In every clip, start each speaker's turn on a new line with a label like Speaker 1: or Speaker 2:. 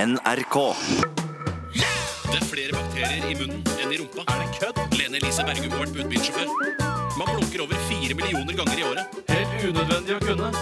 Speaker 1: NRK.
Speaker 2: Det er flere bakterier i munnen enn i rumpa. Er det kødd? Lene Elise Bergum var budbilsjåfør. Man blunker over fire millioner ganger i året.
Speaker 3: Helt unødvendig å kunne.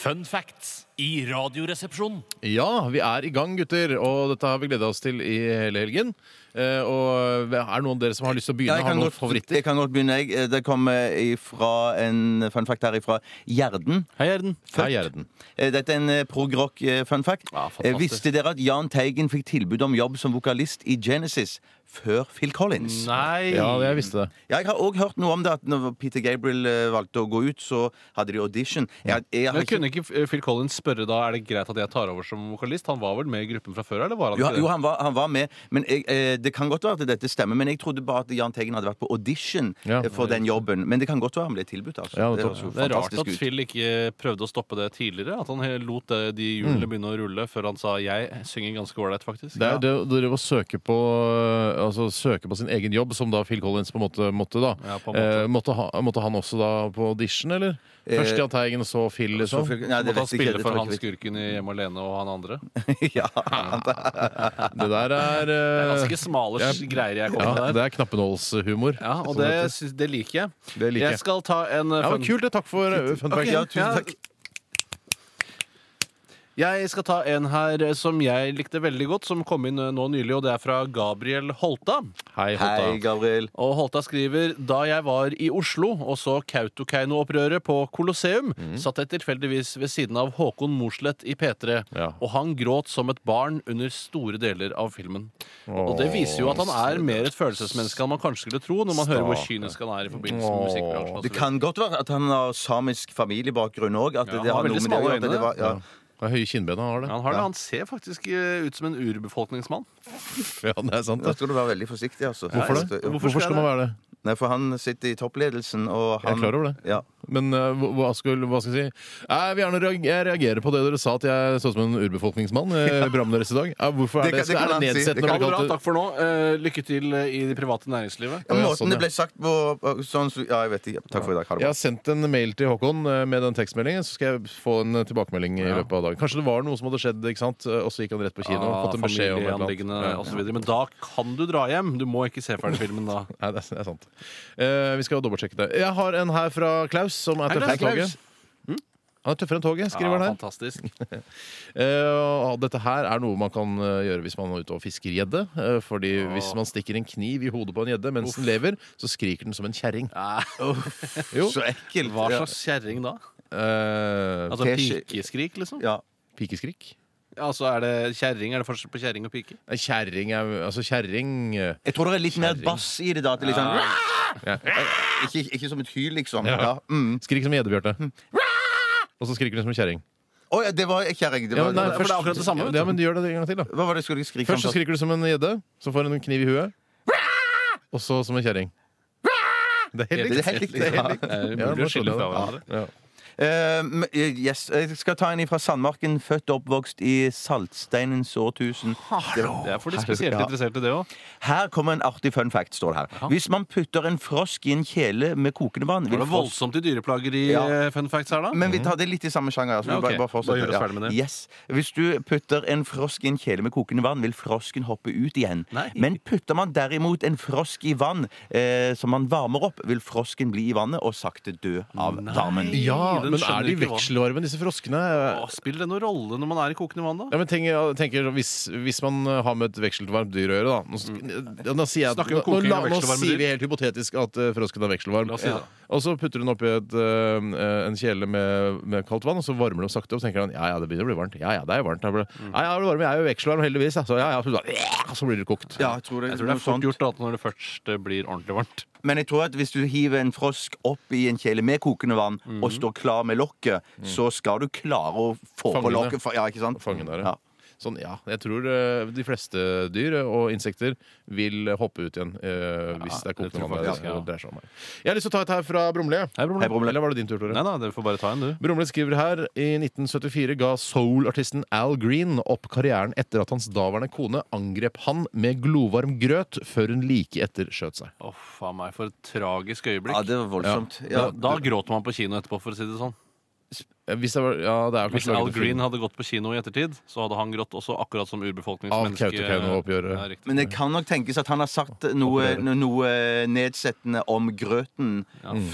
Speaker 3: Fun facts i Radioresepsjonen.
Speaker 4: Ja, vi er i gang, gutter, og dette har vi gleda oss til i hele helgen. Eh, og Er det noen av dere som har lyst til å
Speaker 5: Ja,
Speaker 4: begynne?
Speaker 5: jeg,
Speaker 4: har
Speaker 5: kan
Speaker 4: noen
Speaker 5: godt,
Speaker 4: favoritter?
Speaker 5: jeg kan godt begynne. Jeg. Eh, Det kommer ifra en fun fact her ifra Gjerden.
Speaker 4: Hei, Gjerden. Hei, Gjerden.
Speaker 5: Eh, Dette er en eh, prog rock eh, fun fact.
Speaker 4: Ja, fantastisk.
Speaker 5: Eh, Visste dere at Jahn Teigen fikk tilbud om jobb som vokalist i Genesis før Phil Collins?
Speaker 3: Nei.
Speaker 4: Ja, jeg visste det.
Speaker 5: Ja, jeg har òg hørt noe om det, at når Peter Gabriel eh, valgte å gå ut, så hadde de audition. Jeg, jeg har
Speaker 3: Men
Speaker 5: ikke
Speaker 3: Kunne ikke Phil Collins spørre da er det greit at jeg tar over som vokalist? Han var vel med i gruppen fra før? eller var han
Speaker 5: jo,
Speaker 3: ikke det?
Speaker 5: jo han, var, han var med. Men jeg, eh, Det kan godt være at dette stemmer, men jeg trodde bare at Jahn Teigen hadde vært på audition
Speaker 4: Ja.
Speaker 5: eh, for den jobben. Men det kan godt være han ble tilbudt. altså.
Speaker 4: Ja,
Speaker 5: det
Speaker 4: nettopp.
Speaker 5: høres jo
Speaker 3: Det er rart
Speaker 5: fantastisk
Speaker 3: at
Speaker 5: ut.
Speaker 3: Phil ikke prøvde å stoppe det tidligere. At han he- lot det- de hjulene
Speaker 5: Mm.
Speaker 3: begynne å rulle før han sa 'jeg synger ganske ålreit', faktisk.
Speaker 4: Det er jo det å drive og søke på, eh, altså, søke på sin egen jobb, som da Phil Collins på en måte måtte, da.
Speaker 3: Ja, på en måte. Eh,
Speaker 4: Eh, måtte, ha, måtte han også da på audition, eller? Først Jahn Teigen, så Phil,
Speaker 5: Så
Speaker 4: liksom?
Speaker 5: Phil-
Speaker 3: Måtte
Speaker 5: Nei, det
Speaker 3: han
Speaker 5: vet jeg ikke.
Speaker 3: spille
Speaker 5: Det
Speaker 3: for
Speaker 5: tror
Speaker 3: han
Speaker 5: jeg ikke.
Speaker 3: skurken i Hjemme alene og han andre? Det
Speaker 5: Ja, det-
Speaker 4: Det der er,
Speaker 3: er
Speaker 4: eh,
Speaker 3: ganske smale
Speaker 4: Ja.
Speaker 3: greier jeg kommer
Speaker 4: ja,
Speaker 3: med der.
Speaker 4: Det er knappenålshumor.
Speaker 3: Ja, og det, sy- det liker jeg.
Speaker 4: Det liker jeg.
Speaker 3: Jeg skal ta en eh,
Speaker 4: Ja, men
Speaker 3: fun-
Speaker 4: Kult. det. Takk for eh, fun fact.
Speaker 5: Ja, tusen takk.
Speaker 3: Jeg skal ta en her eh, som jeg likte veldig godt, som kom inn eh, nå nylig, og det er fra Gabriel Holta.
Speaker 4: Hei, Hotta.
Speaker 5: Hei, Gabriel.
Speaker 3: Og Holta skriver da jeg var i Oslo og så Kautokeino-opprøret på Colosseum,
Speaker 4: Mhm.
Speaker 3: satt jeg tilfeldigvis ved siden av Håkon Mosleth i P3,
Speaker 4: Ja.
Speaker 3: og han gråt som et barn under store deler av filmen. Og det viser jo at han er mer et følelsesmenneske enn man kanskje skulle tro, når man hører hvor
Speaker 4: Stakkar.
Speaker 3: kynisk han er i forbindelse med
Speaker 4: Åh.
Speaker 3: musikkbransjen. og så
Speaker 5: Det
Speaker 3: videre.
Speaker 5: kan godt være at han har samisk familiebakgrunn òg. At
Speaker 3: Ja, han
Speaker 5: det
Speaker 3: har
Speaker 5: har noe
Speaker 3: veldig
Speaker 5: med det å
Speaker 3: smale
Speaker 5: gjøre. at Det
Speaker 3: øyne.
Speaker 5: var, ja.
Speaker 4: Det er Høye kinnben han har, det.
Speaker 3: Han, har det. han ser faktisk eh, ut som en urbefolkningsmann.
Speaker 4: Ja, det er sant.
Speaker 5: Da
Speaker 4: Det.
Speaker 5: skal du være veldig forsiktig. Altså.
Speaker 4: Hvorfor det?
Speaker 5: Ja.
Speaker 3: Hvorfor
Speaker 4: Hvorfor
Speaker 3: skal
Speaker 4: skal man være det?
Speaker 5: Nei, for han sitter i toppledelsen, og han
Speaker 4: Jeg er klar over det.
Speaker 5: Ja.
Speaker 4: Men eh, hva, hva skal, hva skal jeg si? Eh, Jeg vil gjerne reag- jeg reagere på det dere sa, at jeg så ut som en urbefolkningsmann eh, i programmet deres i dag. Ja, hvorfor
Speaker 5: Det
Speaker 4: er det, er
Speaker 5: kan- det kan
Speaker 4: det
Speaker 5: han si.
Speaker 4: nedsettende?
Speaker 5: Det kan
Speaker 3: Ha det bra,
Speaker 4: å bli kalt-
Speaker 3: takk for nå. Eh, lykke til eh, i det private næringslivet.
Speaker 5: Ja,
Speaker 4: Å, ja,
Speaker 5: Måten
Speaker 4: sånn,
Speaker 5: det ble sagt på på- sånn, så- Ja, jeg vet ikke. Takk for i dag. Ha det
Speaker 4: Jeg
Speaker 5: bra.
Speaker 4: har sendt en mail til Håkon eh, med den tekstmeldingen, så skal jeg få en eh, tilbakemelding i løpet av dagen. Kanskje det var noe som hadde skjedd, ikke sant? Eh, og så gikk han rett på kino.
Speaker 3: Ja,
Speaker 4: fått en beskjed om et eller
Speaker 3: Ah,
Speaker 4: annet.
Speaker 3: familieanliggende og så videre. Men da kan du dra hjem. Du må ikke se ferdig filmen da.
Speaker 4: Nei, det er, det er sant. Eh, vi skal dobbeltsjekke det. Jeg har en her fra Klaus, som er
Speaker 3: Hei,
Speaker 4: tøffere
Speaker 3: Klaus. Ah,
Speaker 4: enn toget. Han er tøffere enn toget, skriver han
Speaker 3: Ja,
Speaker 4: her.
Speaker 3: fantastisk.
Speaker 4: Eh, og dette her er noe man kan eh, gjøre hvis man er ute og fisker gjedde. Eh, fordi hvis man stikker en kniv i hodet på en gjedde mens den lever, så skriker den som en kjerring.
Speaker 3: Ah.
Speaker 4: Jo.
Speaker 5: Så ekkelt.
Speaker 3: Hva
Speaker 5: Ja.
Speaker 3: slags kjerring da?
Speaker 4: Eh,
Speaker 3: Altså
Speaker 5: Teskje-
Speaker 3: pikeskrik, liksom?
Speaker 5: Ja.
Speaker 4: pikeskrik?
Speaker 3: Altså, er det kjerring? Er det forskjell på kjerring og pike?
Speaker 4: Nei, Kjerring er Altså, kjerring eh,
Speaker 5: Jeg tror det er litt mer bass i det. da at det er litt sånn,
Speaker 4: ja.
Speaker 5: ikke, ikke som et hyl, liksom.
Speaker 4: Ja.
Speaker 5: Ja. Mm.
Speaker 4: Skrik som en gjedde, Bjarte.
Speaker 3: Hm.
Speaker 4: Og så skriker den som en kjerring.
Speaker 5: Å, ja, det var kjerring. Det
Speaker 4: Ja,
Speaker 5: var,
Speaker 4: men nei,
Speaker 3: for det er
Speaker 4: først-
Speaker 3: akkurat det samme, vet du.
Speaker 4: Ja, men du gjør det en gang til, da.
Speaker 5: hva var det jeg skulle skrike
Speaker 4: Først så
Speaker 5: om?
Speaker 4: skriker du som en gjedde, så får hun en kniv i huet. Og så som en kjerring. Det er helt
Speaker 5: Det er
Speaker 4: likt.
Speaker 5: helt riktig. Ja.
Speaker 3: Er det
Speaker 4: Ja,
Speaker 3: mulig
Speaker 4: nå
Speaker 3: å skille
Speaker 4: skjønner
Speaker 3: fra
Speaker 4: jeg
Speaker 3: hverandre?
Speaker 4: det. Ja.
Speaker 5: Eh, men, eh, yes. Jeg skal ta en fra Sandmarken. Født og oppvokst i saltsteinens årtusen.
Speaker 3: Det er for de spesielt
Speaker 5: Ja.
Speaker 3: interesserte, det òg.
Speaker 5: Her kommer en artig fun fact. står det her Hvis man putter en frosk i en kjele med kokende vann
Speaker 3: Var
Speaker 5: vil
Speaker 3: det
Speaker 5: frosk-
Speaker 3: voldsomt i dyreplageri
Speaker 5: Ja.
Speaker 3: eh, fun facts her, da?
Speaker 5: men vi tar det litt i samme sjanger. Altså.
Speaker 3: Ja,
Speaker 5: Vi
Speaker 3: ok.
Speaker 5: bare- bare fortsetter.
Speaker 3: Da gjør vi oss ferdig med det.
Speaker 5: Yes. Hvis du putter en frosk i en kjele med kokende vann, vil frosken hoppe ut igjen.
Speaker 3: Nei.
Speaker 5: Men putter man derimot en frosk i vann eh, som man varmer opp, vil frosken bli i vannet og sakte dø av
Speaker 3: Nei.
Speaker 5: varmen.
Speaker 4: Ja,
Speaker 3: Den
Speaker 4: men er
Speaker 3: skjønner
Speaker 4: de
Speaker 3: ikke hva-
Speaker 4: vekselvarme, disse froskene?
Speaker 3: Å, spiller det noen rolle når man er i kokende vann, da?
Speaker 4: Ja, men tenk, jeg tenker, hvis, hvis man har med et vekselvarmt dyr å gjøre, da Nå, sk- ja, da sier jeg,
Speaker 3: Mm. Snakker vi
Speaker 4: nå,
Speaker 3: om koking
Speaker 4: la-
Speaker 3: av
Speaker 4: nå
Speaker 3: vekselvarme dyr?
Speaker 4: sier vi helt hypotetisk at eh, frosken er vekselvarm.
Speaker 3: La oss si det.
Speaker 4: Ja. Og så putter hun oppi et, eh, en kjele med, med kaldt vann, og så varmer det opp sakte. Og så tenker han ja ja, det begynner å bli varmt. Ja ja, det er varmt. Jeg, ble,
Speaker 3: Mm.
Speaker 4: ja, ja, det blir varmt. jeg er jo vekselvarm, heldigvis. ja. Så, ja, ja, så, bare- så blir det kokt.
Speaker 5: Ja, jeg tror det,
Speaker 3: Jeg tror det er fort gjort da, at når det først eh, blir ordentlig varmt.
Speaker 5: Men jeg tror at hvis du hiver en frosk opp i en kjele med kokende vann og står klar med lokket, så skal du klare å få
Speaker 4: Fange
Speaker 5: på
Speaker 4: det.
Speaker 5: lokket. fra- Ja, ikke sant?
Speaker 4: Fange det, ja.
Speaker 5: ja.
Speaker 4: Sånn, ja. Jeg tror eh, de fleste dyr eh, og insekter vil hoppe ut igjen eh, hvis det er
Speaker 3: det tror
Speaker 4: kokende
Speaker 3: jeg
Speaker 4: vann.
Speaker 3: faktisk,
Speaker 4: det er-
Speaker 3: ja.
Speaker 4: eh, det dreier seg om her. Jeg har lyst til å ta et her fra Brumle.
Speaker 3: Hei, Brumle.
Speaker 4: Eller var det din tur, Tore?
Speaker 3: Nei da, dere får bare ta en, du.
Speaker 4: Brumle skriver her i 1974 ga soul-artisten Al Green opp karrieren etter at hans daværende kone angrep han med glovarm grøt før hun like etter skjøt seg.
Speaker 3: Å, faen meg, for et tragisk øyeblikk.
Speaker 5: ja, det var voldsomt. Ja.
Speaker 3: da, da gråter man på kino etterpå, for å si det sånn.
Speaker 4: Ja, Hvis det var Ja, det er jo
Speaker 3: Hvis
Speaker 4: kanskje
Speaker 3: Al
Speaker 4: laget en
Speaker 3: Green
Speaker 4: film
Speaker 3: hadde gått på kino i ettertid, så hadde han grått også, akkurat som
Speaker 4: av
Speaker 3: urbefolkningsmennesket.
Speaker 4: Kautokeino-oppgjøret.
Speaker 3: Ja, riktig.
Speaker 5: Men det kan nok tenkes at han har sagt noe,
Speaker 4: Opererer.
Speaker 5: no- noe nedsettende om grøten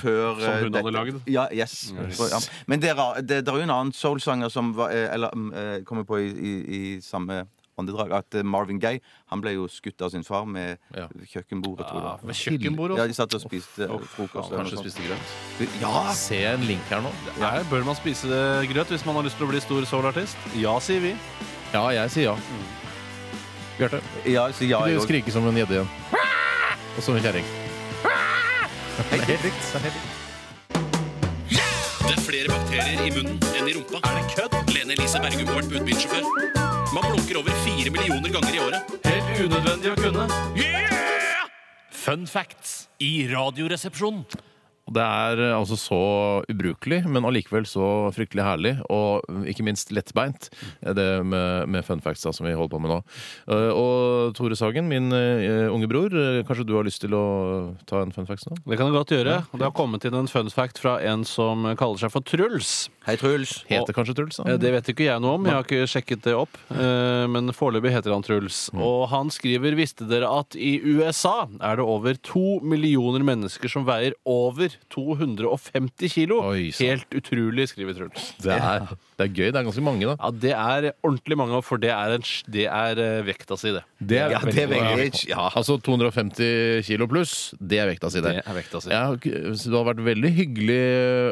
Speaker 5: før
Speaker 3: Som hun
Speaker 5: eh,
Speaker 3: hadde
Speaker 5: dette-
Speaker 3: lagd?
Speaker 5: Ja, yes. Så, ja. Men det er, ra- det, det er jo en annen soulsanger som var, eh, eller, mm, eh, kommer på i, i, i samme åndedrag, at eh, Marvin Gaye han ble jo skutt av sin far med
Speaker 4: Ja. Ah,
Speaker 5: kjøkkenbordet, tror jeg. det var.
Speaker 3: Ved kjøkkenbordet
Speaker 5: Ja,
Speaker 3: også.
Speaker 5: de satt og spiste eh, frokost.
Speaker 4: Kanskje
Speaker 5: eller noe sånt.
Speaker 4: spiste grøt.
Speaker 5: Ja!
Speaker 4: Se en link her nå.
Speaker 3: Ja, bør man spise det grøt hvis man har lyst til å bli stor soul-artist? Ja, sier vi.
Speaker 4: Ja, jeg sier ja. Bjarte,
Speaker 5: Ja, så ja,
Speaker 4: du
Speaker 5: jeg,
Speaker 4: skriker som en gjedde igjen. Og som en kjerring. Det er helt likt.
Speaker 2: Det er flere bakterier i munnen enn i rumpa. Er det kødd? Lene Elise Bergum har vært budbilsjåfør. Man blunker over fire millioner ganger i året.
Speaker 3: Helt unødvendig å kunne. Fun facts i Radioresepsjonen.
Speaker 4: Og Det er eh, altså så ubrukelig, men allikevel så fryktelig herlig. Og mm, ikke minst lettbeint, eh, det med, med fun facts da, som vi holder på med nå. Eh, Og Tore Sagen, min eh, unge bror, eh, kanskje du har lyst til å ta en fun fact nå?
Speaker 3: Det kan jeg godt gjøre. Og Det har kommet inn en fun fact fra en som kaller seg for Truls.
Speaker 5: Hei, Truls.
Speaker 4: Heter kanskje Truls? da?
Speaker 3: Eh, Det vet ikke jeg noe om, jeg har ikke sjekket det opp. eh, Men foreløpig heter han Truls. Og han skriver visste dere at i USA er det over to millioner mennesker som veier over 250 kilo.
Speaker 4: Oi, sant.
Speaker 3: Helt utrolig, skriver Truls.
Speaker 4: Det, er, det er gøy. Det er ganske mange, da.
Speaker 3: Ja, det er ordentlig mange, for det er, en, sj- det er eh, vekta si, det.
Speaker 4: Det er,
Speaker 5: Ja, det er veldig- ja.
Speaker 4: Altså 250 kilo pluss, det er vekta si, det.
Speaker 3: Det er vekta si.
Speaker 4: Jeg har ikke- så det har vært veldig hyggelig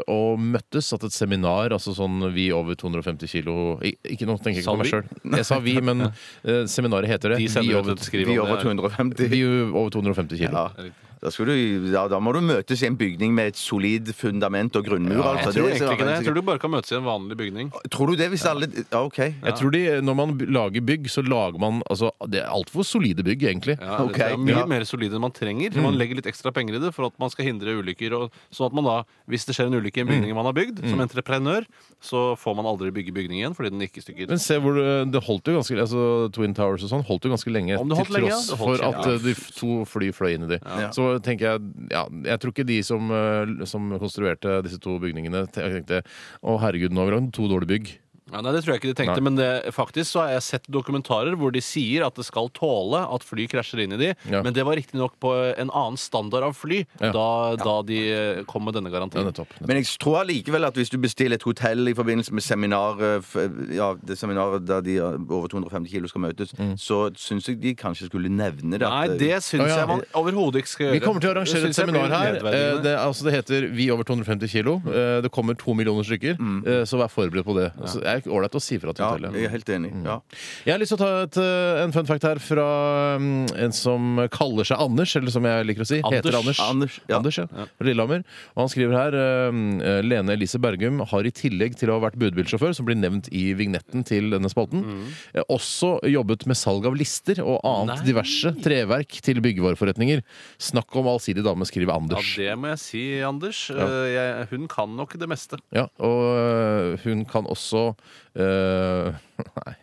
Speaker 4: å møttes, hatt et seminar, altså sånn vi over 250 kilo Ik- Ikke nå tenker jeg ikke
Speaker 3: Sa
Speaker 4: på meg
Speaker 3: vi?
Speaker 4: sjøl. Jeg sa vi, men eh, seminaret heter det.
Speaker 3: De
Speaker 4: vi
Speaker 3: sender ut
Speaker 4: over,
Speaker 3: et skriv
Speaker 5: Vi er
Speaker 3: om
Speaker 5: over
Speaker 3: det. her.
Speaker 5: 250.
Speaker 4: vi over 250 kilo.
Speaker 5: Ja. Da, skal du, ja, da må du møtes i en bygning med et solid fundament og grunnmur.
Speaker 4: Ja,
Speaker 5: altså.
Speaker 3: Jeg tror
Speaker 5: Det-
Speaker 3: egentlig ikke det. Jeg tror du bare kan møtes i en vanlig bygning.
Speaker 5: Tror du det hvis alle ja, OK.
Speaker 4: Jeg tror de, Når man b- lager bygg, så lager man altså, Det er altfor solide bygg, egentlig.
Speaker 3: Ja,
Speaker 5: Ok,
Speaker 3: Det er mye
Speaker 5: ja.
Speaker 3: mer solid enn man
Speaker 4: Mm.
Speaker 3: trenger. Man legger litt ekstra penger i det for at man skal hindre ulykker. Og sånn at man da, Hvis det skjer en ulykke i en bygning
Speaker 4: Mm.
Speaker 3: man har bygd, som entreprenør, så får man aldri bygge bygning igjen fordi den gikk i stykker.
Speaker 4: Men se hvor eh, det, det holdt jo ganske altså Twin Towers og sånn holdt jo ganske lenge.
Speaker 3: Om det holdt
Speaker 4: til
Speaker 3: lenge, ja,
Speaker 4: tross
Speaker 3: det holdt
Speaker 4: for at
Speaker 3: kjempe-
Speaker 4: eh, de f- to fly fløy inn i de. Så tenker jeg ja, Jeg tror ikke de som, eh, som konstruerte disse to bygningene, te- tenkte å herregud, nå har vi lagd to dårlige bygg.
Speaker 3: Ja, nei, det tror jeg ikke de tenkte, men det, faktisk så har jeg sett dokumentarer hvor de sier at det skal tåle at fly krasjer inn i de,
Speaker 4: Ja.
Speaker 3: men det var riktignok på en annen standard av fly
Speaker 4: Ja.
Speaker 3: da, da de eh, kom med denne
Speaker 4: Ja,
Speaker 3: garantien.
Speaker 4: nettopp. nettopp.
Speaker 5: Men jeg tror allikevel at hvis du bestiller et hotell i forbindelse med seminar, eh, f- ja, det seminaret der de eh, over 250 kilo skal møtes, så syns jeg de kanskje skulle nevne Mm. det. at- eh,
Speaker 3: Nei, det syns
Speaker 4: Å, ja.
Speaker 3: jeg man overhodet ikke skal gjøre.
Speaker 4: Vi kommer til å arrangere
Speaker 3: Det
Speaker 4: et
Speaker 3: syns jeg blir
Speaker 4: seminar her. Eh,
Speaker 3: nedverdigende.
Speaker 4: Det, altså, det heter Vi over 250 kilo.
Speaker 3: Mm.
Speaker 4: Eh, Det kommer to millioner stykker, eh, så vær forberedt på det. Så det er ålreit å si fra til
Speaker 5: ja,
Speaker 4: hotellet.
Speaker 5: jeg er helt enig. Ja.
Speaker 4: Jeg har lyst til å ta et, eh, en fun fact her fra mm, en som kaller seg Anders, eller som jeg liker å si.
Speaker 3: Anders.
Speaker 4: Heter Anders.
Speaker 5: Anders, ja.
Speaker 4: ja. Fra Lillehammer. Og han skriver her eh, Lene Elise Bergum har i tillegg til å ha vært budbilsjåfør, som blir nevnt i vignetten til denne spalten, eh, også jobbet med salg av lister og annet
Speaker 3: Nei.
Speaker 4: diverse treverk til byggevareforretninger. Snakk om allsidig dame, skriver
Speaker 3: Ja,
Speaker 4: Anders.
Speaker 3: det må jeg si, Anders. Eh, Jeg, hun kan nok det meste.
Speaker 4: Ja, og eh, hun kan også eh, Nei.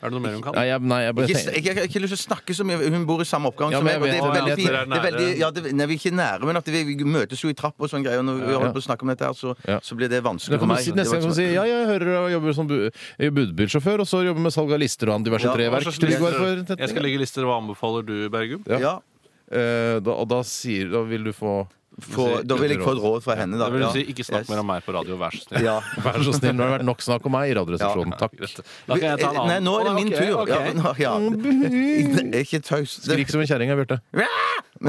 Speaker 3: Er det noe mer hun kan?
Speaker 4: Nei, jeg, nei, jeg bare
Speaker 5: Ikke,
Speaker 4: tenker-
Speaker 5: jeg, jeg har ikke lyst til å snakke så mye. Hun bor i samme oppgang
Speaker 4: Ja,
Speaker 5: som
Speaker 4: men
Speaker 5: meg.
Speaker 4: jeg
Speaker 5: Og
Speaker 4: vet-
Speaker 5: det er
Speaker 3: Å,
Speaker 5: veldig
Speaker 3: ja,
Speaker 5: fint.
Speaker 3: dere er
Speaker 5: Det er veldig,
Speaker 3: nære.
Speaker 5: ja, det, nei, vi er ikke nære, men at vi vi møtes jo i trapp og sånn greier. Og når vi holder på å snakke om dette her, så, så blir det
Speaker 4: Da kan
Speaker 5: vanskelig for
Speaker 4: du
Speaker 5: meg.
Speaker 4: si, neste gang kan du si ja, jeg hører og jobber som bu- jeg er budbilsjåfør, og så jobber med salg av lister og annet diverse
Speaker 5: Ja,
Speaker 4: treverk.
Speaker 5: hva slags
Speaker 4: Trygg
Speaker 5: lister?
Speaker 4: var for-
Speaker 3: Jeg skal legge lister. Hva anbefaler du, Bergum?
Speaker 4: Ja.
Speaker 5: Ja,
Speaker 4: Eh, da, og da sier Da vil du få
Speaker 5: få- da vil jeg få et råd fra henne, da.
Speaker 3: Det vil
Speaker 5: Ja.
Speaker 3: si, ikke snakk mer om meg på radio, vær så snill.
Speaker 5: Ja.
Speaker 4: Vær så snill, nå har det vært nok snakk om meg i Radioresepsjonen. Takk.
Speaker 3: Da kan jeg ta en annen.
Speaker 5: Nei, nå er det
Speaker 3: Å,
Speaker 5: min
Speaker 3: ok,
Speaker 5: tur.
Speaker 3: ok.
Speaker 5: Ja, nå- ja. Det er ikke taus. Det-
Speaker 4: Skrik som en kjerring, Bjarte.
Speaker 5: men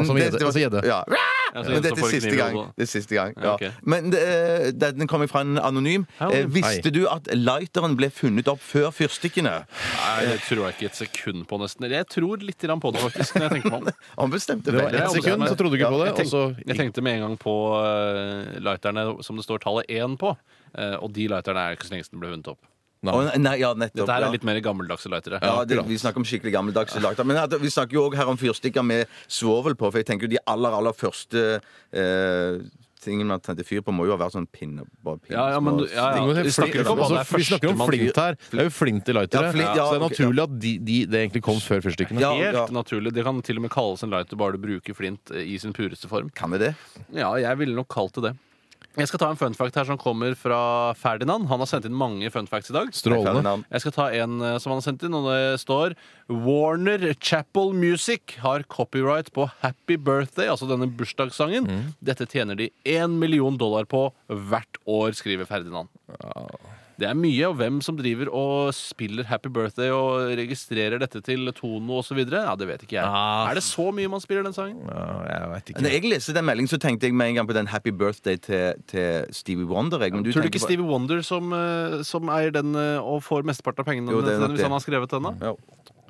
Speaker 4: og som
Speaker 5: det-
Speaker 4: gjedde-
Speaker 5: det var-
Speaker 4: og som gjedde.
Speaker 5: Ja.
Speaker 3: Ja, så
Speaker 5: Men
Speaker 3: en som
Speaker 5: dette er
Speaker 3: får
Speaker 5: siste
Speaker 3: kniv i
Speaker 5: gang.
Speaker 3: hodet.
Speaker 5: Det er siste gang
Speaker 3: Ja,
Speaker 5: ja.
Speaker 3: ok.
Speaker 5: Men eh, den kommer fra en anonym. Eh,
Speaker 3: anonym.
Speaker 5: Visste du at lighteren ble funnet opp før fyrstikkene?
Speaker 3: Nei, det tror jeg ikke et sekund på, nesten. Eller Jeg tror litt grann på det, faktisk. Når jeg tenker meg om
Speaker 5: Han bestemte
Speaker 4: Det var
Speaker 5: vel.
Speaker 4: ett sekund, så trodde du ikke på det.
Speaker 3: jeg,
Speaker 4: Og så
Speaker 3: tenkte, jeg tenkte med en gang på eh, lighterne som det står tallet 1 på. eh, og de lighterne er ikke så lenge siden de ble vunnet opp.
Speaker 5: Å, nei, ja, nettopp.
Speaker 3: Dette her
Speaker 5: ja.
Speaker 3: er litt mer gammeldagse lightere.
Speaker 5: Ja, det, Vi snakker om skikkelig gammeldagse lagter. Men at- vi snakker jo òg her om fyrstikker med svovel på. For jeg tenker jo de aller, aller første eh, tingene man tente fyr på, må jo ha vært sånn pinne, bare pinne
Speaker 3: Ja, ja, men
Speaker 5: små
Speaker 3: du- ja, ja.
Speaker 4: Tenk
Speaker 5: stikker.
Speaker 4: om det er
Speaker 3: Vi snakker
Speaker 4: flint-
Speaker 3: ikke om
Speaker 5: sånn-
Speaker 3: hva det er
Speaker 4: altså, Vi snakker om
Speaker 3: førstemann-
Speaker 4: flint her. Det er jo flint i lightere.
Speaker 5: Ja, flint, ja,
Speaker 4: så det er
Speaker 5: ok,
Speaker 4: naturlig at de, de, det egentlig kom før fyrstikkene.
Speaker 5: Ja,
Speaker 3: Helt
Speaker 5: ja.
Speaker 3: naturlig. Det kan til og med kalles en lighter, bare du bruker flint eh, i sin pureste form.
Speaker 5: Kan jeg det?
Speaker 3: Ja, jeg ville nok kalt det det. Jeg skal ta en fun fact her som kommer fra Ferdinand. Han har sendt inn mange fun facts i dag.
Speaker 4: Strålende.
Speaker 5: Ferdinand.
Speaker 3: Jeg skal ta en eh, som han har sendt inn, og det står Warner Chapel Music har copyright på Happy Birthday, altså denne bursdagssangen.
Speaker 4: Mm.
Speaker 3: Dette tjener de én million dollar på hvert år, skriver Ferdinand. Det er mye, og hvem som driver og spiller Happy Birthday og registrerer dette til Tono osv., ja, det vet ikke jeg.
Speaker 4: Ah.
Speaker 3: Er det så mye man spiller den sangen?
Speaker 4: Ja, jeg veit ikke.
Speaker 5: Når jeg leste den meldingen, så tenkte jeg med en gang på den Happy Birthday til, til Stevie Wonder. Jeg. Men du
Speaker 3: Tror du
Speaker 5: tenker
Speaker 3: ikke
Speaker 5: på-
Speaker 3: Stevie Wonder som, eh, som eier den eh, og får mesteparten av pengene
Speaker 5: Jo, det er
Speaker 3: til den,
Speaker 5: nok
Speaker 3: hvis han
Speaker 5: det.
Speaker 3: har skrevet den? da?
Speaker 5: Ja.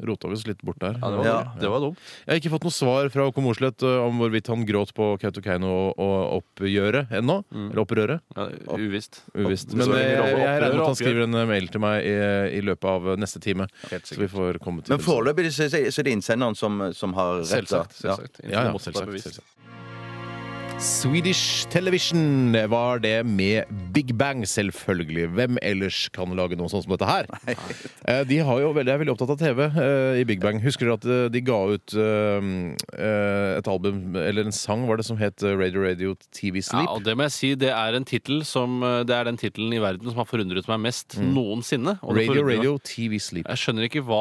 Speaker 4: Rota vi oss litt bort
Speaker 3: Ja,
Speaker 4: der.
Speaker 3: det var,
Speaker 5: Ja.
Speaker 3: dumt. Det var dumt.
Speaker 4: Jeg har ikke fått noe svar fra Håkon Mosleth eh, om hvorvidt han gråt på Kautokeino og- og oppgjøret ennå. Eller opprøret.
Speaker 3: Ja, uvisst.
Speaker 4: Uvisst.
Speaker 3: Mm. Opp-
Speaker 4: Men
Speaker 3: så
Speaker 4: eh,
Speaker 3: lenge det er
Speaker 4: jeg, jeg, regner med at
Speaker 3: oppgjør.
Speaker 4: han skriver en eh, mail til meg i, i løpet av eh, neste time. Så vi får komme til
Speaker 5: Men foreløpig så, så så er det innsenderen som, som har rett. da.
Speaker 3: Selvsagt.
Speaker 5: Ja.
Speaker 3: selvsagt.
Speaker 4: Ja, ja,
Speaker 3: Inntil motsatt
Speaker 4: selvsagt,
Speaker 3: bevis.
Speaker 4: selvsagt. Swedish Television var det med Big Bang, selvfølgelig. Hvem ellers kan lage noe sånt som dette her? Eh, De har jo veldig, er veldig opptatt av TV eh, i Big Bang. Husker dere at eh, de ga ut eh, et album, eller en sang, var det som het eh, Radio Radio TV
Speaker 3: Ja,
Speaker 4: Sleep?
Speaker 3: og det må jeg si, det er en tittel som eh, Det er den tittelen i verden som har forundret meg mest noensinne. og det
Speaker 4: Mm. Radio
Speaker 3: forundrer meg-
Speaker 4: Radio TV Sleep.
Speaker 3: Jeg skjønner ikke hva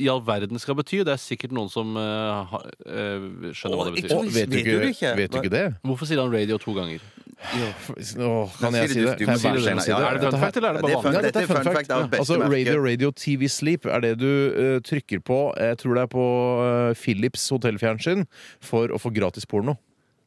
Speaker 3: i all verden skal bety. Det er sikkert noen som eh, ha, eh, skjønner hva det
Speaker 5: ikke
Speaker 3: betyr.
Speaker 5: sant?
Speaker 4: vet, du
Speaker 5: Vet
Speaker 4: ikke,
Speaker 5: du det ikke?
Speaker 4: vet du ikke det?
Speaker 3: Hvorfor sier han radio to ganger?
Speaker 4: Åh, kan
Speaker 5: Men
Speaker 4: jeg
Speaker 5: si
Speaker 4: si det?
Speaker 5: det du- du
Speaker 4: Kan
Speaker 5: må si
Speaker 4: jeg bare
Speaker 5: det senere.
Speaker 4: si det?
Speaker 5: Ja, ja, ja.
Speaker 3: Er det fun fact, eller er det
Speaker 5: Ja,
Speaker 3: bare
Speaker 5: fun-
Speaker 3: vanlig?
Speaker 4: Nei, dette er fun fact.
Speaker 5: av beste
Speaker 4: altså,
Speaker 5: merke.
Speaker 4: Radio Radio TV Sleep er det du eh, trykker på Jeg tror det er på eh, Philips hotellfjernsyn for å få gratis porno.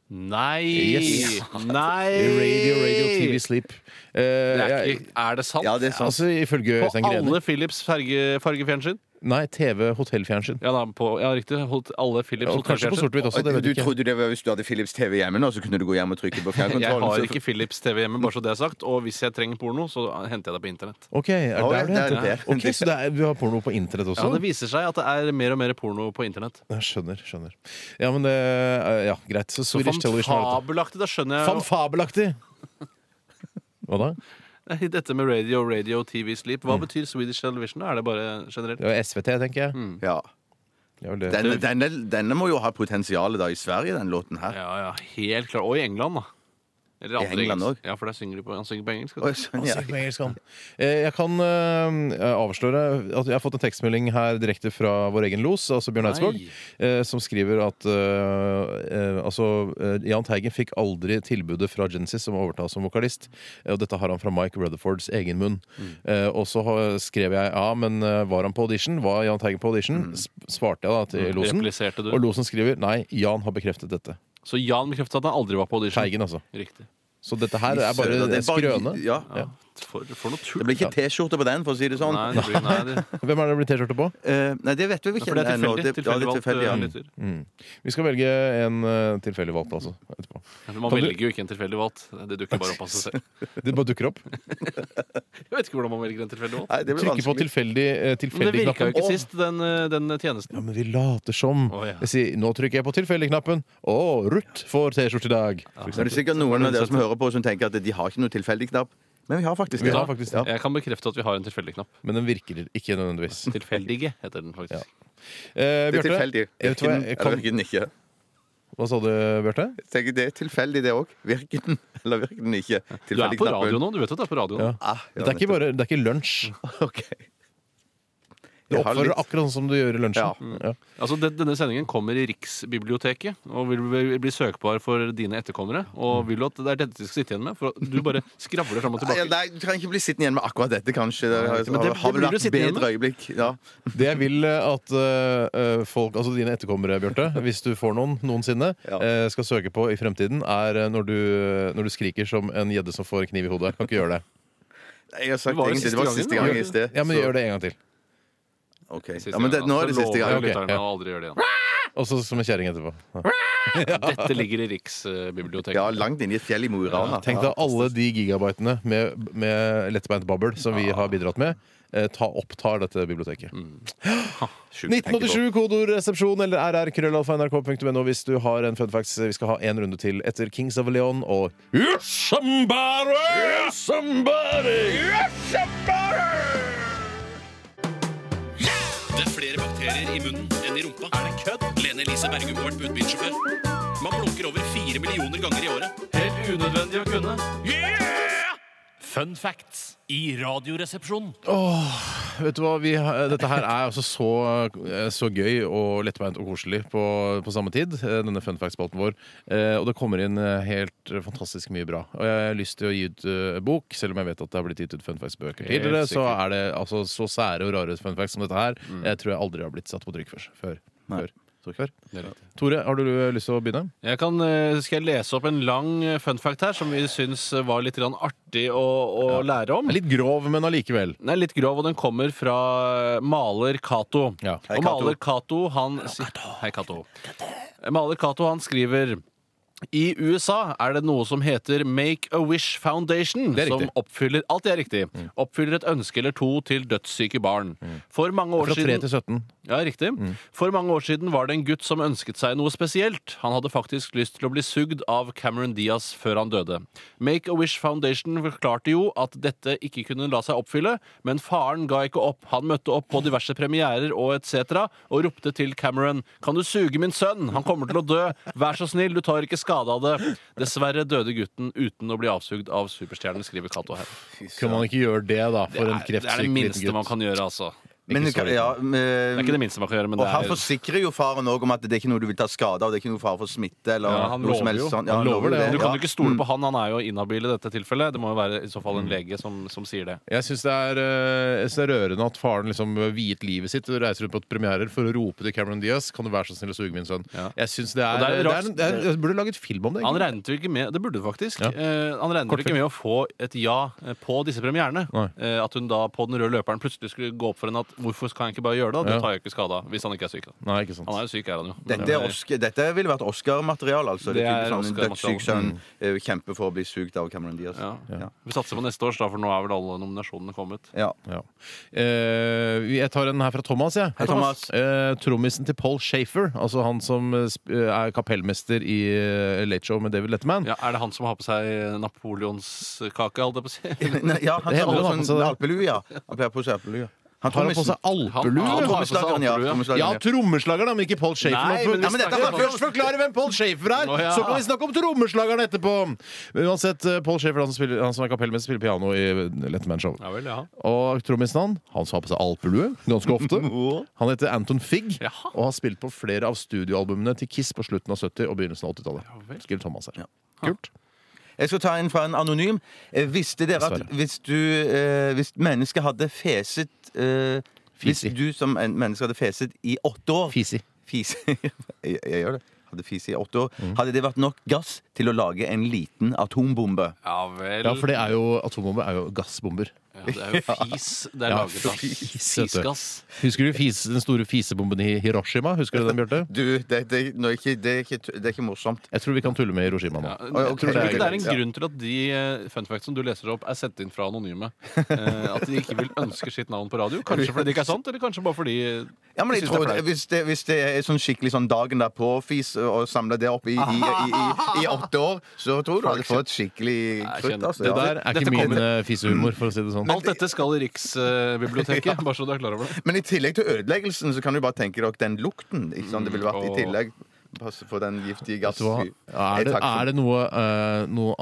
Speaker 3: Nei!
Speaker 4: Yes.
Speaker 3: Nei!
Speaker 4: Radio Radio TV Sleep. Eh,
Speaker 3: Det er,
Speaker 4: jeg-
Speaker 3: ikke, er det sant?
Speaker 5: Ja, det er sant.
Speaker 4: altså, ifølge
Speaker 3: på
Speaker 4: Øystein Grene.
Speaker 3: alle Philips farge, fargefjernsyn?
Speaker 4: Nei, TV hotellfjernsyn.
Speaker 3: Ja, da, på, ja riktig. Holdt alle Philips
Speaker 4: Og kanskje på
Speaker 3: hotellfjernsyn.
Speaker 4: sort-hvitt også. Det vet
Speaker 5: du
Speaker 4: jeg ikke.
Speaker 5: trodde det var Hvis du hadde Philips TV hjemme, nå, så kunne du gå hjem og trykke på
Speaker 3: Jeg
Speaker 5: fjernkontrollen.
Speaker 3: har
Speaker 5: så-
Speaker 3: ikke Philips TV hjemme, bare så det er sagt. Og hvis jeg trenger porno, så henter jeg det på internett.
Speaker 4: Ok, er det
Speaker 5: Å, ja,
Speaker 4: der du
Speaker 5: det er
Speaker 4: henter det?
Speaker 5: det.
Speaker 4: Ok, Så det er, du har porno på internett
Speaker 3: Ja, Det
Speaker 4: også?
Speaker 3: viser seg at det er mer og mer porno på internett.
Speaker 4: Jeg skjønner. skjønner Ja, men det eh, Ja, greit. Så Swedish Television har dette.
Speaker 3: Fabelaktig, da skjønner jeg jo-
Speaker 4: Fanfabelaktig! Hva da?
Speaker 3: Nei, Dette med radio, radio, TV, sleep. Hva betyr Swedish Television? da? Er det bare generelt?
Speaker 4: Det var SVT, tenker jeg.
Speaker 3: Mm.
Speaker 5: Ja.
Speaker 4: Det var det.
Speaker 5: Denne, denne, denne må jo ha potensialet da i Sverige, den låten her.
Speaker 3: Ja, ja, helt klart. Og i England, da. Eller
Speaker 5: I
Speaker 3: andre
Speaker 5: England
Speaker 3: engelsk.
Speaker 5: også?
Speaker 3: Ja, for der synger de på, han synger på engelsk.
Speaker 5: Oi,
Speaker 3: vet du.
Speaker 5: sånn, ja.
Speaker 4: Sykt med engelsk, han. Eh, Jeg kan eh, avsløre at jeg har fått en tekstmelding her direkte fra vår egen los, altså Bjørn Eidsvåg,
Speaker 3: Nei.
Speaker 4: eh, som skriver at eh, eh, altså, eh, Jahn Teigen fikk aldri tilbudet fra Genesis om å overta som vokalist. Eh, Og dette har han fra Mike Rutherfords egen munn.
Speaker 5: Mm.
Speaker 4: Eh, Og så har- skrev jeg ja, men eh, var han på audition? Var Jahn Teigen på audition?
Speaker 5: Mm.
Speaker 4: S- Svarte jeg da til losen.
Speaker 3: Repliserte du.
Speaker 4: Og losen skriver nei, Jan har bekreftet dette.
Speaker 3: Så Jan bekreftet at han aldri var på audition.
Speaker 4: Teigen, altså.
Speaker 3: Riktig.
Speaker 4: Så dette her er bare
Speaker 5: Søren, det er bare-
Speaker 4: skrøne.
Speaker 5: Ja.
Speaker 3: Ja. For, for noe tull.
Speaker 5: Det blir ikke T-skjorte på den, for å si det sånn.
Speaker 3: Nei, det blir, nei, det,
Speaker 4: Hvem er det det blir T-skjorte på?
Speaker 5: Eh, nei, det vet vi vel ikke.
Speaker 3: for det er
Speaker 5: ennå.
Speaker 3: tilfeldig.
Speaker 5: ja, det er
Speaker 3: Tilfeldig valgt
Speaker 5: tilfeldig, ja.
Speaker 3: eh, lytter.
Speaker 4: Mm. Vi skal velge en eh, tilfeldig valgt, altså. Etterpå.
Speaker 3: Man
Speaker 4: Kan du-
Speaker 3: velger jo ikke en tilfeldig valgt. Det dukker bare opp av seg selv.
Speaker 4: Det bare dukker opp.
Speaker 3: Jeg vet ikke hvordan man velger en tilfeldig valgt.
Speaker 5: Nei, det blir
Speaker 4: Trykker på
Speaker 5: vanskelig.
Speaker 4: tilfeldig, eh,
Speaker 3: Men det
Speaker 4: tilfeldig
Speaker 3: virka jo ikke
Speaker 4: Å,
Speaker 3: sist, den, eh, den tjenesten.
Speaker 4: Ja, men vi later som.
Speaker 3: Å, ja.
Speaker 4: Jeg sier, nå trykker jeg på tilfeldig-knappen. Å, Ruth får T-skjorte i dag! For
Speaker 5: Men
Speaker 4: eksempel.
Speaker 5: det er sikkert noen av dere som hører på, som tenker at de har ikke noe tilfeldig knapp. Men vi har faktisk
Speaker 4: Vi
Speaker 5: det.
Speaker 4: har faktisk det.
Speaker 3: Jeg kan bekrefte at vi har en tilfeldig knapp.
Speaker 4: Men den virker ikke nødvendigvis.
Speaker 3: Tilfeldige heter den faktisk.
Speaker 4: Eh,
Speaker 5: Det er tilfeldig.
Speaker 4: Bjarte, jeg vet hva, jeg
Speaker 5: Virker den eller
Speaker 4: kan,
Speaker 5: virker den ikke?
Speaker 4: hva sa du, Bjarte?
Speaker 5: Jeg tenker Det er tilfeldig, det òg. Virker den eller virker den ikke?
Speaker 3: Du er
Speaker 5: Tilfeldig
Speaker 3: på radio nå. du vet at du er på radio nå.
Speaker 4: Ja.
Speaker 5: Ah,
Speaker 4: Det
Speaker 5: ja,
Speaker 4: er ikke
Speaker 5: nettopp.
Speaker 4: bare det er ikke lunsj.
Speaker 5: Ok.
Speaker 4: Du
Speaker 5: Jeg har
Speaker 4: oppfører deg
Speaker 5: litt-
Speaker 4: akkurat sånn som du gjør i lunsjen. Ja.
Speaker 3: Altså, det- Denne sendingen kommer i Riksbiblioteket og vil bli- bli søkbar for dine etterkommere. Og vil du at det er dette de skal sitte igjen med? For at du bare skravler fram og
Speaker 5: Nei,
Speaker 3: tilbake.
Speaker 5: Nei, du kan ikke bli sittende igjen med akkurat dette, kanskje. Det har,
Speaker 3: men det- det
Speaker 5: har vel
Speaker 3: blir du
Speaker 5: vært
Speaker 3: sittende igjen
Speaker 5: bedre øyeblikk. Ja.
Speaker 4: Det jeg vil eh, at eh, folk, altså dine etterkommere, Bjarte, hvis du får noen noensinne,
Speaker 5: Ja.
Speaker 4: eh, skal søke på i fremtiden, er eh, når du, når du skriker som en gjedde som får kniv i hodet. Kan ikke gjøre det.
Speaker 5: Jeg har sagt
Speaker 3: Det var jo
Speaker 5: egentlig, det var siste
Speaker 3: gangen, da.
Speaker 5: gang i sted.
Speaker 4: Ja, men
Speaker 5: så-
Speaker 4: gjør det en gang til.
Speaker 5: ok. Ja, men det, nå er det siste
Speaker 3: gang. altså.
Speaker 4: Ok,
Speaker 5: gang.
Speaker 4: ja.
Speaker 3: aldri gjør det igjen.
Speaker 4: Og så som en kjerring etterpå. Ja.
Speaker 3: Dette ligger i Riksbiblioteket.
Speaker 5: Ja, langt inne i et fjell i Mo i Rana.
Speaker 4: Tenk deg alle de gigabytene med, med lettbeint babbel som vi har bidratt med. eh, Ta, opptar dette biblioteket.
Speaker 5: Mm. Sjukt å tenke på.
Speaker 4: 1987, kodeord resepsjon eller rrkrøllalfa.nrk.no hvis du har en fun facts. Vi skal ha en runde til etter Kings of Leon og You're somebody! You're somebody!
Speaker 2: Det er flere bakterier bakterier i munnen enn i rumpa? Er det kødd? Lene Elise Bergum har vært budbilsjåfør. Man blunker over fire millioner ganger i året.
Speaker 3: Helt unødvendig å kunne. Fun facts i Radioresepsjonen.
Speaker 4: Vet du hva, vi, har- Dette her er altså så, så gøy og lettbeint og koselig på, på samme tid. eh, Denne fun fact-spalten vår. Eh, og det kommer inn eh, helt fantastisk mye bra. Og jeg har lyst til å gi ut eh, bok, selv om jeg vet at det har blitt gitt ut fun facts-bøker
Speaker 3: Helt
Speaker 4: tidligere. Så
Speaker 3: sikkert. Mm.
Speaker 4: er det altså så sære og rare fun facts som dette her. Jeg tror jeg aldri har blitt satt på trykk før. før.
Speaker 5: Nei.
Speaker 4: før. før. Tore, har du eh, lyst til å begynne?
Speaker 3: Jeg kan, eh, skal jeg lese opp en lang eh, fun fact her som vi syns var litt grann artig å, å lære om?
Speaker 4: Den er Litt grov, men allikevel.
Speaker 3: Den er litt grov, og den kommer fra eh, maler Cato.
Speaker 4: Ja.
Speaker 5: Hei,
Speaker 3: og
Speaker 5: Cato.
Speaker 3: maler Cato, han si- Hei, Cato. Maler Cato, han skriver i USA er det noe som heter Make a Wish Foundation.
Speaker 4: Det er
Speaker 3: Som
Speaker 4: riktig. Mm.
Speaker 3: oppfyller alt det er riktig Oppfyller et ønske eller to til dødssyke barn. For mange år
Speaker 4: Fra 3
Speaker 3: siden
Speaker 4: til 17.
Speaker 3: ja, riktig. For mange år siden var det en gutt som ønsket seg noe spesielt. Han hadde faktisk lyst til å bli sugd av Cameron Diaz før han døde. Make a Wish Foundation forklarte jo at dette ikke kunne la seg oppfylle, men faren ga ikke opp. Han møtte opp på diverse premierer og etc. og ropte til Cameron Kan du suge min sønn? Han kommer til å dø. Vær så snill, du tar ikke skade av det. Dessverre døde gutten uten å bli avsugd av superstjernen, skriver Cato her.
Speaker 4: Kunne man ikke gjøre det, da? For
Speaker 3: Det
Speaker 4: en
Speaker 3: er
Speaker 4: kreftsyk
Speaker 3: det
Speaker 4: liten
Speaker 3: minste man
Speaker 4: gutt.
Speaker 3: kan gjøre, altså.
Speaker 5: Men,
Speaker 4: Ikke så liten.
Speaker 5: ja,
Speaker 3: Det er ikke det minste man kan gjøre, men
Speaker 5: Og
Speaker 3: det
Speaker 5: han
Speaker 3: er
Speaker 5: forsikrer jo faren òg om at det er ikke noe du vil ta skade av. Det er ikke noe fare for smitte eller
Speaker 3: Ja, han
Speaker 5: noe som
Speaker 3: lover
Speaker 5: helst
Speaker 3: jo.
Speaker 5: sånn.
Speaker 4: Han lover det,
Speaker 3: Men Du kan jo
Speaker 5: ja.
Speaker 3: ikke stole
Speaker 4: Mm.
Speaker 3: på han, han er jo inhabil i dette tilfellet. Det må jo være i så fall en lege som, som sier det.
Speaker 4: Jeg syns det, er, eh, jeg synes det er rørende at faren liksom viet livet sitt og reiser rundt på premierer for å rope til Cameron Diaz Kan du være så snill å suge min sønn.
Speaker 3: Ja.
Speaker 4: Jeg synes det
Speaker 3: Og
Speaker 4: er, det
Speaker 3: det er
Speaker 4: er,
Speaker 3: jo rart-
Speaker 4: det er, Jeg burde laget film om det.
Speaker 3: Han
Speaker 4: egentlig.
Speaker 3: regnet jo ikke med det burde du faktisk,
Speaker 4: Ja.
Speaker 3: eh, han regnet vel ikke med å få et ja eh, på disse premierene.
Speaker 4: Nei.
Speaker 3: Eh, at hun da på den røde løperen plutselig skulle gå opp for henne at hvorfor kan jeg ikke bare gjøre det? Det
Speaker 4: Ja.
Speaker 3: tar jeg jo ikke skade av. Hvis han ikke er syk, da.
Speaker 4: Nei, ikke sant.
Speaker 3: Han er jo syk, er han jo.
Speaker 5: Dette, er Oscar, dette ville vært Oscar-materiale, altså.
Speaker 3: Det
Speaker 5: Det er
Speaker 3: er
Speaker 5: sånn, en
Speaker 3: Oscar-materiale.
Speaker 5: dødssyk sønn eh, kjemper for å bli sugd av Cameron Diaz.
Speaker 3: Ja.
Speaker 5: Ja.
Speaker 3: Vi satser på neste års, da, for nå er vel alle nominasjonene kommet.
Speaker 5: Ja.
Speaker 4: Ja. Eh, jeg tar en her fra Thomas. Ja.
Speaker 5: Hei, Thomas.
Speaker 4: Eh, trommisen til Paul Shafer, altså han som eh, sp- er kapellmester i eh, Late Show med David Letterman.
Speaker 3: Ja, er det han som har på seg eh, napoleonskake, holdt jeg på å si?
Speaker 5: Nei, ja, han
Speaker 4: Det
Speaker 5: tar
Speaker 4: hender
Speaker 5: også
Speaker 4: han
Speaker 5: en
Speaker 4: også det.
Speaker 5: alpelue, ja. Han pleier på seg alpelue. Han
Speaker 4: Har han på
Speaker 5: trommisen.
Speaker 4: seg alpelue?
Speaker 3: Han-
Speaker 5: Ja,
Speaker 3: han har på seg
Speaker 5: trommeslageren, ja.
Speaker 3: alpelue.
Speaker 4: Ja,
Speaker 5: trommeslageren, ja.
Speaker 4: trommeslageren, da, men ikke Paul Schaefer.
Speaker 3: Nei,
Speaker 4: Nå-
Speaker 3: men vi
Speaker 4: Ja, men dette
Speaker 3: snakker
Speaker 4: kan
Speaker 3: om-
Speaker 4: jeg først forklare hvem Paul Schaefer er!
Speaker 3: Å, ja.
Speaker 4: Så kan vi snakke om trommeslageren etterpå! Men Uansett, eh, Paul Schaefer, han, som spiller, han som er kapellmester, spiller piano i eh, Letterman Show.
Speaker 3: Ja vel, ja.
Speaker 4: Og trommisen han, han som har på seg alpelue ganske ofte. Han heter Anton Figg
Speaker 3: Jaha.
Speaker 4: og har spilt på flere av studioalbumene til Kiss på slutten av 70- og begynnelsen av 80-tallet.
Speaker 3: vel.
Speaker 4: Skriver Thomas her. Kult.
Speaker 5: Jeg skal ta en fra en anonym. Eh, Visste dere at
Speaker 4: Dessverre.
Speaker 5: hvis du eh, Hvis mennesket hadde feset eh, Hvis
Speaker 4: Fisi.
Speaker 5: du som en menneske hadde feset i åtte år
Speaker 4: Fisi.
Speaker 5: Fise jeg, jeg gjør det. Hadde fise i åtte år.
Speaker 4: Mm.
Speaker 5: Hadde det vært nok gass til å lage en liten atombombe?
Speaker 3: Ja vel.
Speaker 4: Ja, for det er jo, atombomber er jo gassbomber.
Speaker 3: Ja, det er jo fis det er
Speaker 4: Ja,
Speaker 3: laget av.
Speaker 4: fis, vet du.
Speaker 3: Fisgass.
Speaker 4: Husker du fis, den store fisebomben i Hiroshima? Husker du den, Bjarte?
Speaker 5: Du, det, det, nå er ikke, det, er ikke, det er ikke morsomt.
Speaker 4: Jeg tror vi kan tulle med Hiroshima nå.
Speaker 3: Ja, jeg
Speaker 5: Oi, ok,
Speaker 3: tror
Speaker 5: det
Speaker 3: ikke
Speaker 5: er
Speaker 3: det er en
Speaker 5: greit, ja.
Speaker 3: grunn til at de eh, fun facts som du leser opp, er sendt inn fra anonyme. Eh, At de ikke vil ønske sitt navn på radio. Kanskje fordi det ikke er sant, eller kanskje bare fordi eh,
Speaker 5: Ja, men
Speaker 3: de
Speaker 5: jeg
Speaker 3: syns
Speaker 5: tror
Speaker 3: det er
Speaker 5: det,
Speaker 3: flaut.
Speaker 5: hvis, det, hvis det er sånn skikkelig sånn dagen derpå-fis og samler det opp i, i, i, i, i åtte år, så tror du du hadde fått skikkelig
Speaker 3: Nei,
Speaker 5: krutt.
Speaker 3: kjenner-
Speaker 5: Altså,
Speaker 4: Det
Speaker 5: ja.
Speaker 4: der er
Speaker 3: Dette
Speaker 4: ikke min
Speaker 3: kommer-
Speaker 4: eh, fisehumor, for å si det sånn.
Speaker 3: Alt dette skal i Riksbiblioteket, bare så du er klar over det.
Speaker 5: Men i tillegg til ødeleggelsen så kan du bare tenke dere den lukten. Ikke sant? Det ville vært i tillegg Passe for den giftige
Speaker 4: Mm, Vet du
Speaker 5: gassen.
Speaker 4: hva? Er det, er det noe, eh, noe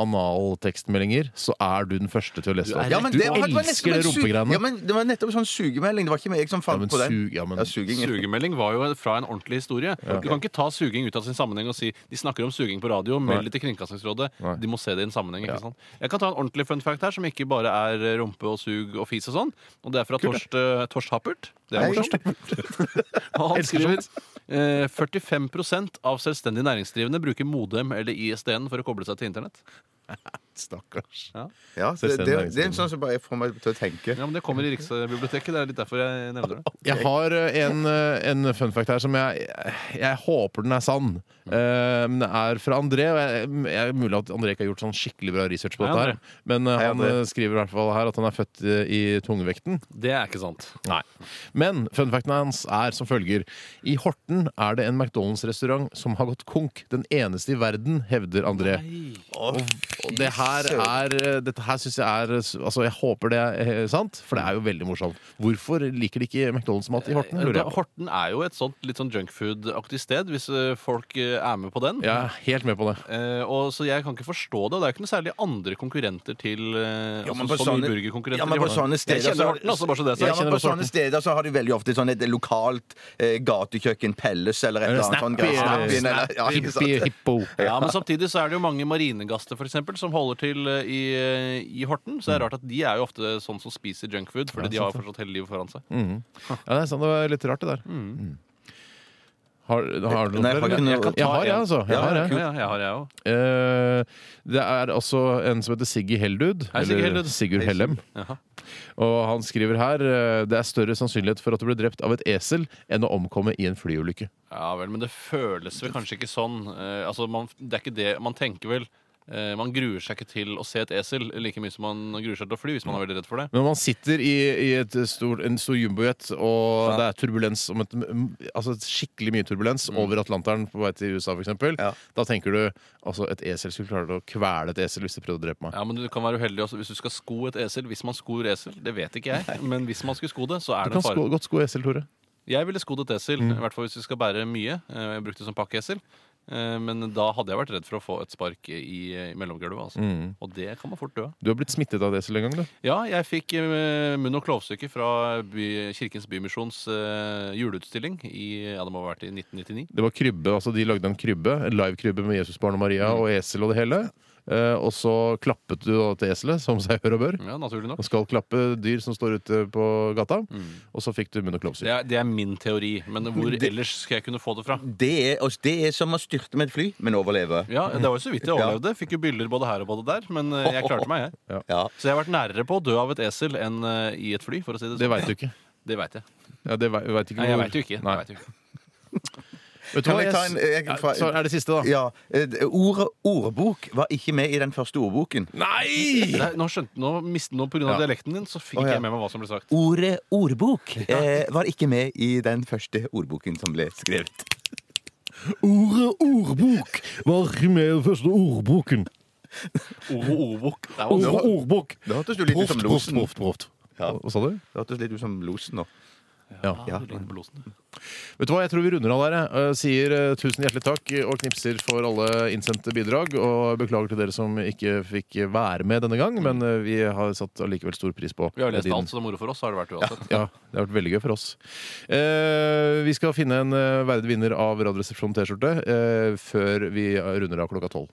Speaker 4: analtekstmeldinger, så er du den første til å lese det.
Speaker 3: er
Speaker 5: ja, men
Speaker 4: du
Speaker 5: det, var- det var nesten
Speaker 4: elsker det
Speaker 5: en su-
Speaker 4: rumpegreiene.
Speaker 5: Ja, men det var nettopp sånn sugemelding. Det var ikke meg som
Speaker 4: Ja,
Speaker 5: fant
Speaker 4: men
Speaker 5: på den.
Speaker 4: sug- ja, men-
Speaker 5: ja, suging.
Speaker 3: Sugemelding var jo fra en ordentlig historie. Du kan ikke ta suging ut av sin sammenheng og si de snakker om suging på radio, meld det til Kringkastingsrådet.
Speaker 4: Nei.
Speaker 3: De må se det i en sammenheng. ikke sant? Jeg kan ta en ordentlig fun fact her, som ikke bare er rumpe og sug og fis og sånn. Og det er fra Torst, eh, Torst Happert. Det er
Speaker 5: Hei.
Speaker 3: morsomt. Og han
Speaker 4: Elsker
Speaker 3: skriver eh, 45 av selvstendig næringsdrivende bruker Modem eller ISDN for å koble seg til internett.
Speaker 4: Stakkars.
Speaker 5: Ja, det, det,
Speaker 4: Selvstendig
Speaker 5: det er en sånn som bare får meg til å tenke.
Speaker 3: Ja, men Det kommer i Riksbiblioteket. Det er litt derfor jeg nevner det.
Speaker 4: Jeg har eh, en, eh, en fun fact her som jeg, jeg håper den er sann.
Speaker 5: Mm.
Speaker 4: Eh, Men det er fra André. og Jeg, jeg er mulig at André ikke har gjort sånn skikkelig bra research på
Speaker 3: Hei,
Speaker 4: dette.
Speaker 3: André.
Speaker 4: her Men eh,
Speaker 5: Hei,
Speaker 4: han
Speaker 5: André.
Speaker 4: eh, skriver i hvert fall her at han er født eh, i tungvekten.
Speaker 3: Det er ikke sant.
Speaker 4: Nei. Men fun facten hans er som følger. I Horten er det en McDonald's-restaurant som har gått konk. Den eneste i verden, hevder André. Og, og det her er eh, Dette her syns jeg er Altså, jeg håper det er eh, sant, for det er jo veldig morsomt. Hvorfor liker de ikke McDonald's-mat i Horten? lurer
Speaker 3: Eh, Da,
Speaker 4: jeg på.
Speaker 3: Horten er jo et sånt litt sånn junkfood-aktig sted, hvis eh, folk eh, er med på den.
Speaker 4: Jeg er helt med på det.
Speaker 3: Eh, og, så jeg kan ikke forstå det. og Det er ikke noe særlig andre konkurrenter til eh,
Speaker 5: Ja, men
Speaker 3: altså,
Speaker 5: på
Speaker 3: så mye
Speaker 5: sånne-
Speaker 3: burgerkonkurrenter
Speaker 5: ja, men
Speaker 3: til
Speaker 5: på
Speaker 3: Horten.
Speaker 5: sånne steder
Speaker 3: Jeg kjenner
Speaker 5: så-
Speaker 3: Horten, altså, bare så det er sagt.
Speaker 5: Ja, men på
Speaker 4: kjenner
Speaker 5: sånne
Speaker 4: sorten.
Speaker 5: steder så har de veldig ofte sånn et lokalt eh, gatekjøkken, Pelles eller et
Speaker 4: Eller
Speaker 5: eller annet sånt.
Speaker 4: Snappy,
Speaker 5: sånn Snappy,
Speaker 4: eller-
Speaker 5: eller- ja, ikke sant?
Speaker 4: Hippi, hippo.
Speaker 3: Ja, men samtidig så er det jo mange marinegaster for eksempel, som holder til eh, i, eh, i Horten. Så det er rart at de er jo ofte sånn som spiser junkfood, fordi de har jo fortsatt hele livet foran seg.
Speaker 4: Ja, det er sant. Det var litt rart, det der. Mm. Har, har du noe
Speaker 5: Nei, jeg har
Speaker 4: flere?
Speaker 5: ikke noe-
Speaker 4: Jeg,
Speaker 5: kan
Speaker 3: ta
Speaker 4: har, jeg,
Speaker 3: en.
Speaker 4: altså. Jeg
Speaker 5: Ja,
Speaker 4: har, jeg.
Speaker 3: Ja, ja, jeg har jeg òg.
Speaker 4: Eh, det er altså en som heter Siggy Heldud.
Speaker 3: Hei, Siggy
Speaker 4: eller
Speaker 3: Heldud.
Speaker 4: Sigurd Hellem.
Speaker 3: Jaha.
Speaker 4: Og han skriver her eh, det er større sannsynlighet for at du blir drept av et esel enn å omkomme i en flyulykke.
Speaker 3: Ja vel, men det føles vel kanskje ikke sånn. Eh, altså, man, det er ikke det man tenker vel. eh, man gruer seg ikke til å se et esel like mye som man gruer seg til å fly hvis man er veldig redd for det.
Speaker 4: Når man sitter i, i et stor, en stor jumbojet, og det er turbulens om et, altså et skikkelig mye turbulens
Speaker 3: Mm.
Speaker 4: over Atlanteren på vei til USA, f.eks., eksempel
Speaker 5: Ja.
Speaker 4: da tenker du altså et esel skulle klare å kvele et esel hvis det prøvde å drepe meg.
Speaker 3: Ja, men Du kan være uheldig også hvis du skal sko et esel. Hvis man skor esel, det vet ikke jeg. Men hvis man skulle sko det, så er det
Speaker 4: Du kan
Speaker 3: en fare.
Speaker 4: sko, Mm. godt sko esel, Tore.
Speaker 3: Jeg ville skodd et esel, i hvert fall hvis du skal bære mye. Eh, Jeg brukte det som pakkeesel. Eh, Men da hadde jeg vært redd for å få et spark i, i mellomgulvet. Altså.
Speaker 4: Mm.
Speaker 3: Og det kan man fort dø av.
Speaker 4: Du har blitt smittet av et esel en gang, du.
Speaker 3: Ja, jeg fikk eh, munn- og klovstykke fra by, Kirkens Bymisjons eh, juleutstilling i ja, det må ha vært i 1999.
Speaker 4: Det var krybbe, altså De lagde en krybbe, en live krybbe med Jesus, barn og Maria
Speaker 3: Mm.
Speaker 4: og esel og det hele. Eh, og så klappet du da til eselet, som seg hør og bør.
Speaker 3: Ja, naturlig nok.
Speaker 4: Og skal klappe dyr som står ute på gata.
Speaker 3: Mm.
Speaker 4: Og så fikk du munn- og
Speaker 3: Det
Speaker 4: klovsyke.
Speaker 3: er, det er min teori, men hvor ellers skal jeg kunne få det fra?
Speaker 5: Det er, og det er som å styrte med et fly, men overleve.
Speaker 3: Ja, Det var jo så vidt jeg overlevde. Fikk jo byller både her og både der, men eh, jeg klarte meg, jeg.
Speaker 5: Ja.
Speaker 3: Så jeg har vært nærere på å dø av et esel enn eh, i et fly, for å si det
Speaker 4: Det
Speaker 3: sånn.
Speaker 4: veit du ikke.
Speaker 3: Det veit jeg.
Speaker 4: Ja, det vei- vet ikke
Speaker 3: Nei, jeg
Speaker 4: hvor-
Speaker 3: veit jo ikke.
Speaker 4: Nei.
Speaker 3: Jeg vet jo ikke.
Speaker 4: Vet du
Speaker 5: Kan
Speaker 4: hva,
Speaker 5: jeg
Speaker 4: jeg eh,
Speaker 5: ta en- eh, jeg-
Speaker 4: Ja, Så er det siste, da.
Speaker 5: ja. eh, Ordet ordbok var ikke med i den første ordboken.
Speaker 4: Nei!
Speaker 3: Nei, nå skjønte nå mistet noe pga.
Speaker 4: Ja.
Speaker 3: av dialekten din, så fikk
Speaker 5: Å,
Speaker 3: ikke
Speaker 5: ja.
Speaker 3: jeg med meg hva som ble sagt.
Speaker 5: Ordet ordbok eh, var ikke med i den første ordboken som ble skrevet.
Speaker 4: Ordet ordbok var med i den første ordboken.
Speaker 3: Oro, ordbok. Det er
Speaker 4: Ordet
Speaker 3: vanskelig.
Speaker 4: ordbok.
Speaker 5: Det hørtes jo litt ut som
Speaker 4: Proft, proft,
Speaker 5: losen.
Speaker 4: proft, proft.
Speaker 5: Ja.
Speaker 4: Hva sa du?
Speaker 5: Det hørtes litt ut som losen nå.
Speaker 3: Ja, det ligner på losen.
Speaker 4: Vet du hva, Jeg tror vi runder av der. jeg. Eh, Sier eh, tusen hjertelig takk og knipser for alle innsendte bidrag. Og beklager til dere som ikke fikk være med denne gang, men eh, vi har satt allikevel stor pris på
Speaker 3: Vi har jo lest
Speaker 4: din-
Speaker 3: alt, så det er moro for oss har det vært uansett.
Speaker 4: Ja, det har vært veldig gøy for oss. Eh, vi skal finne en eh, verdig vinner av Radioresepsjonen T-skjorte eh, før vi runder av klokka tolv.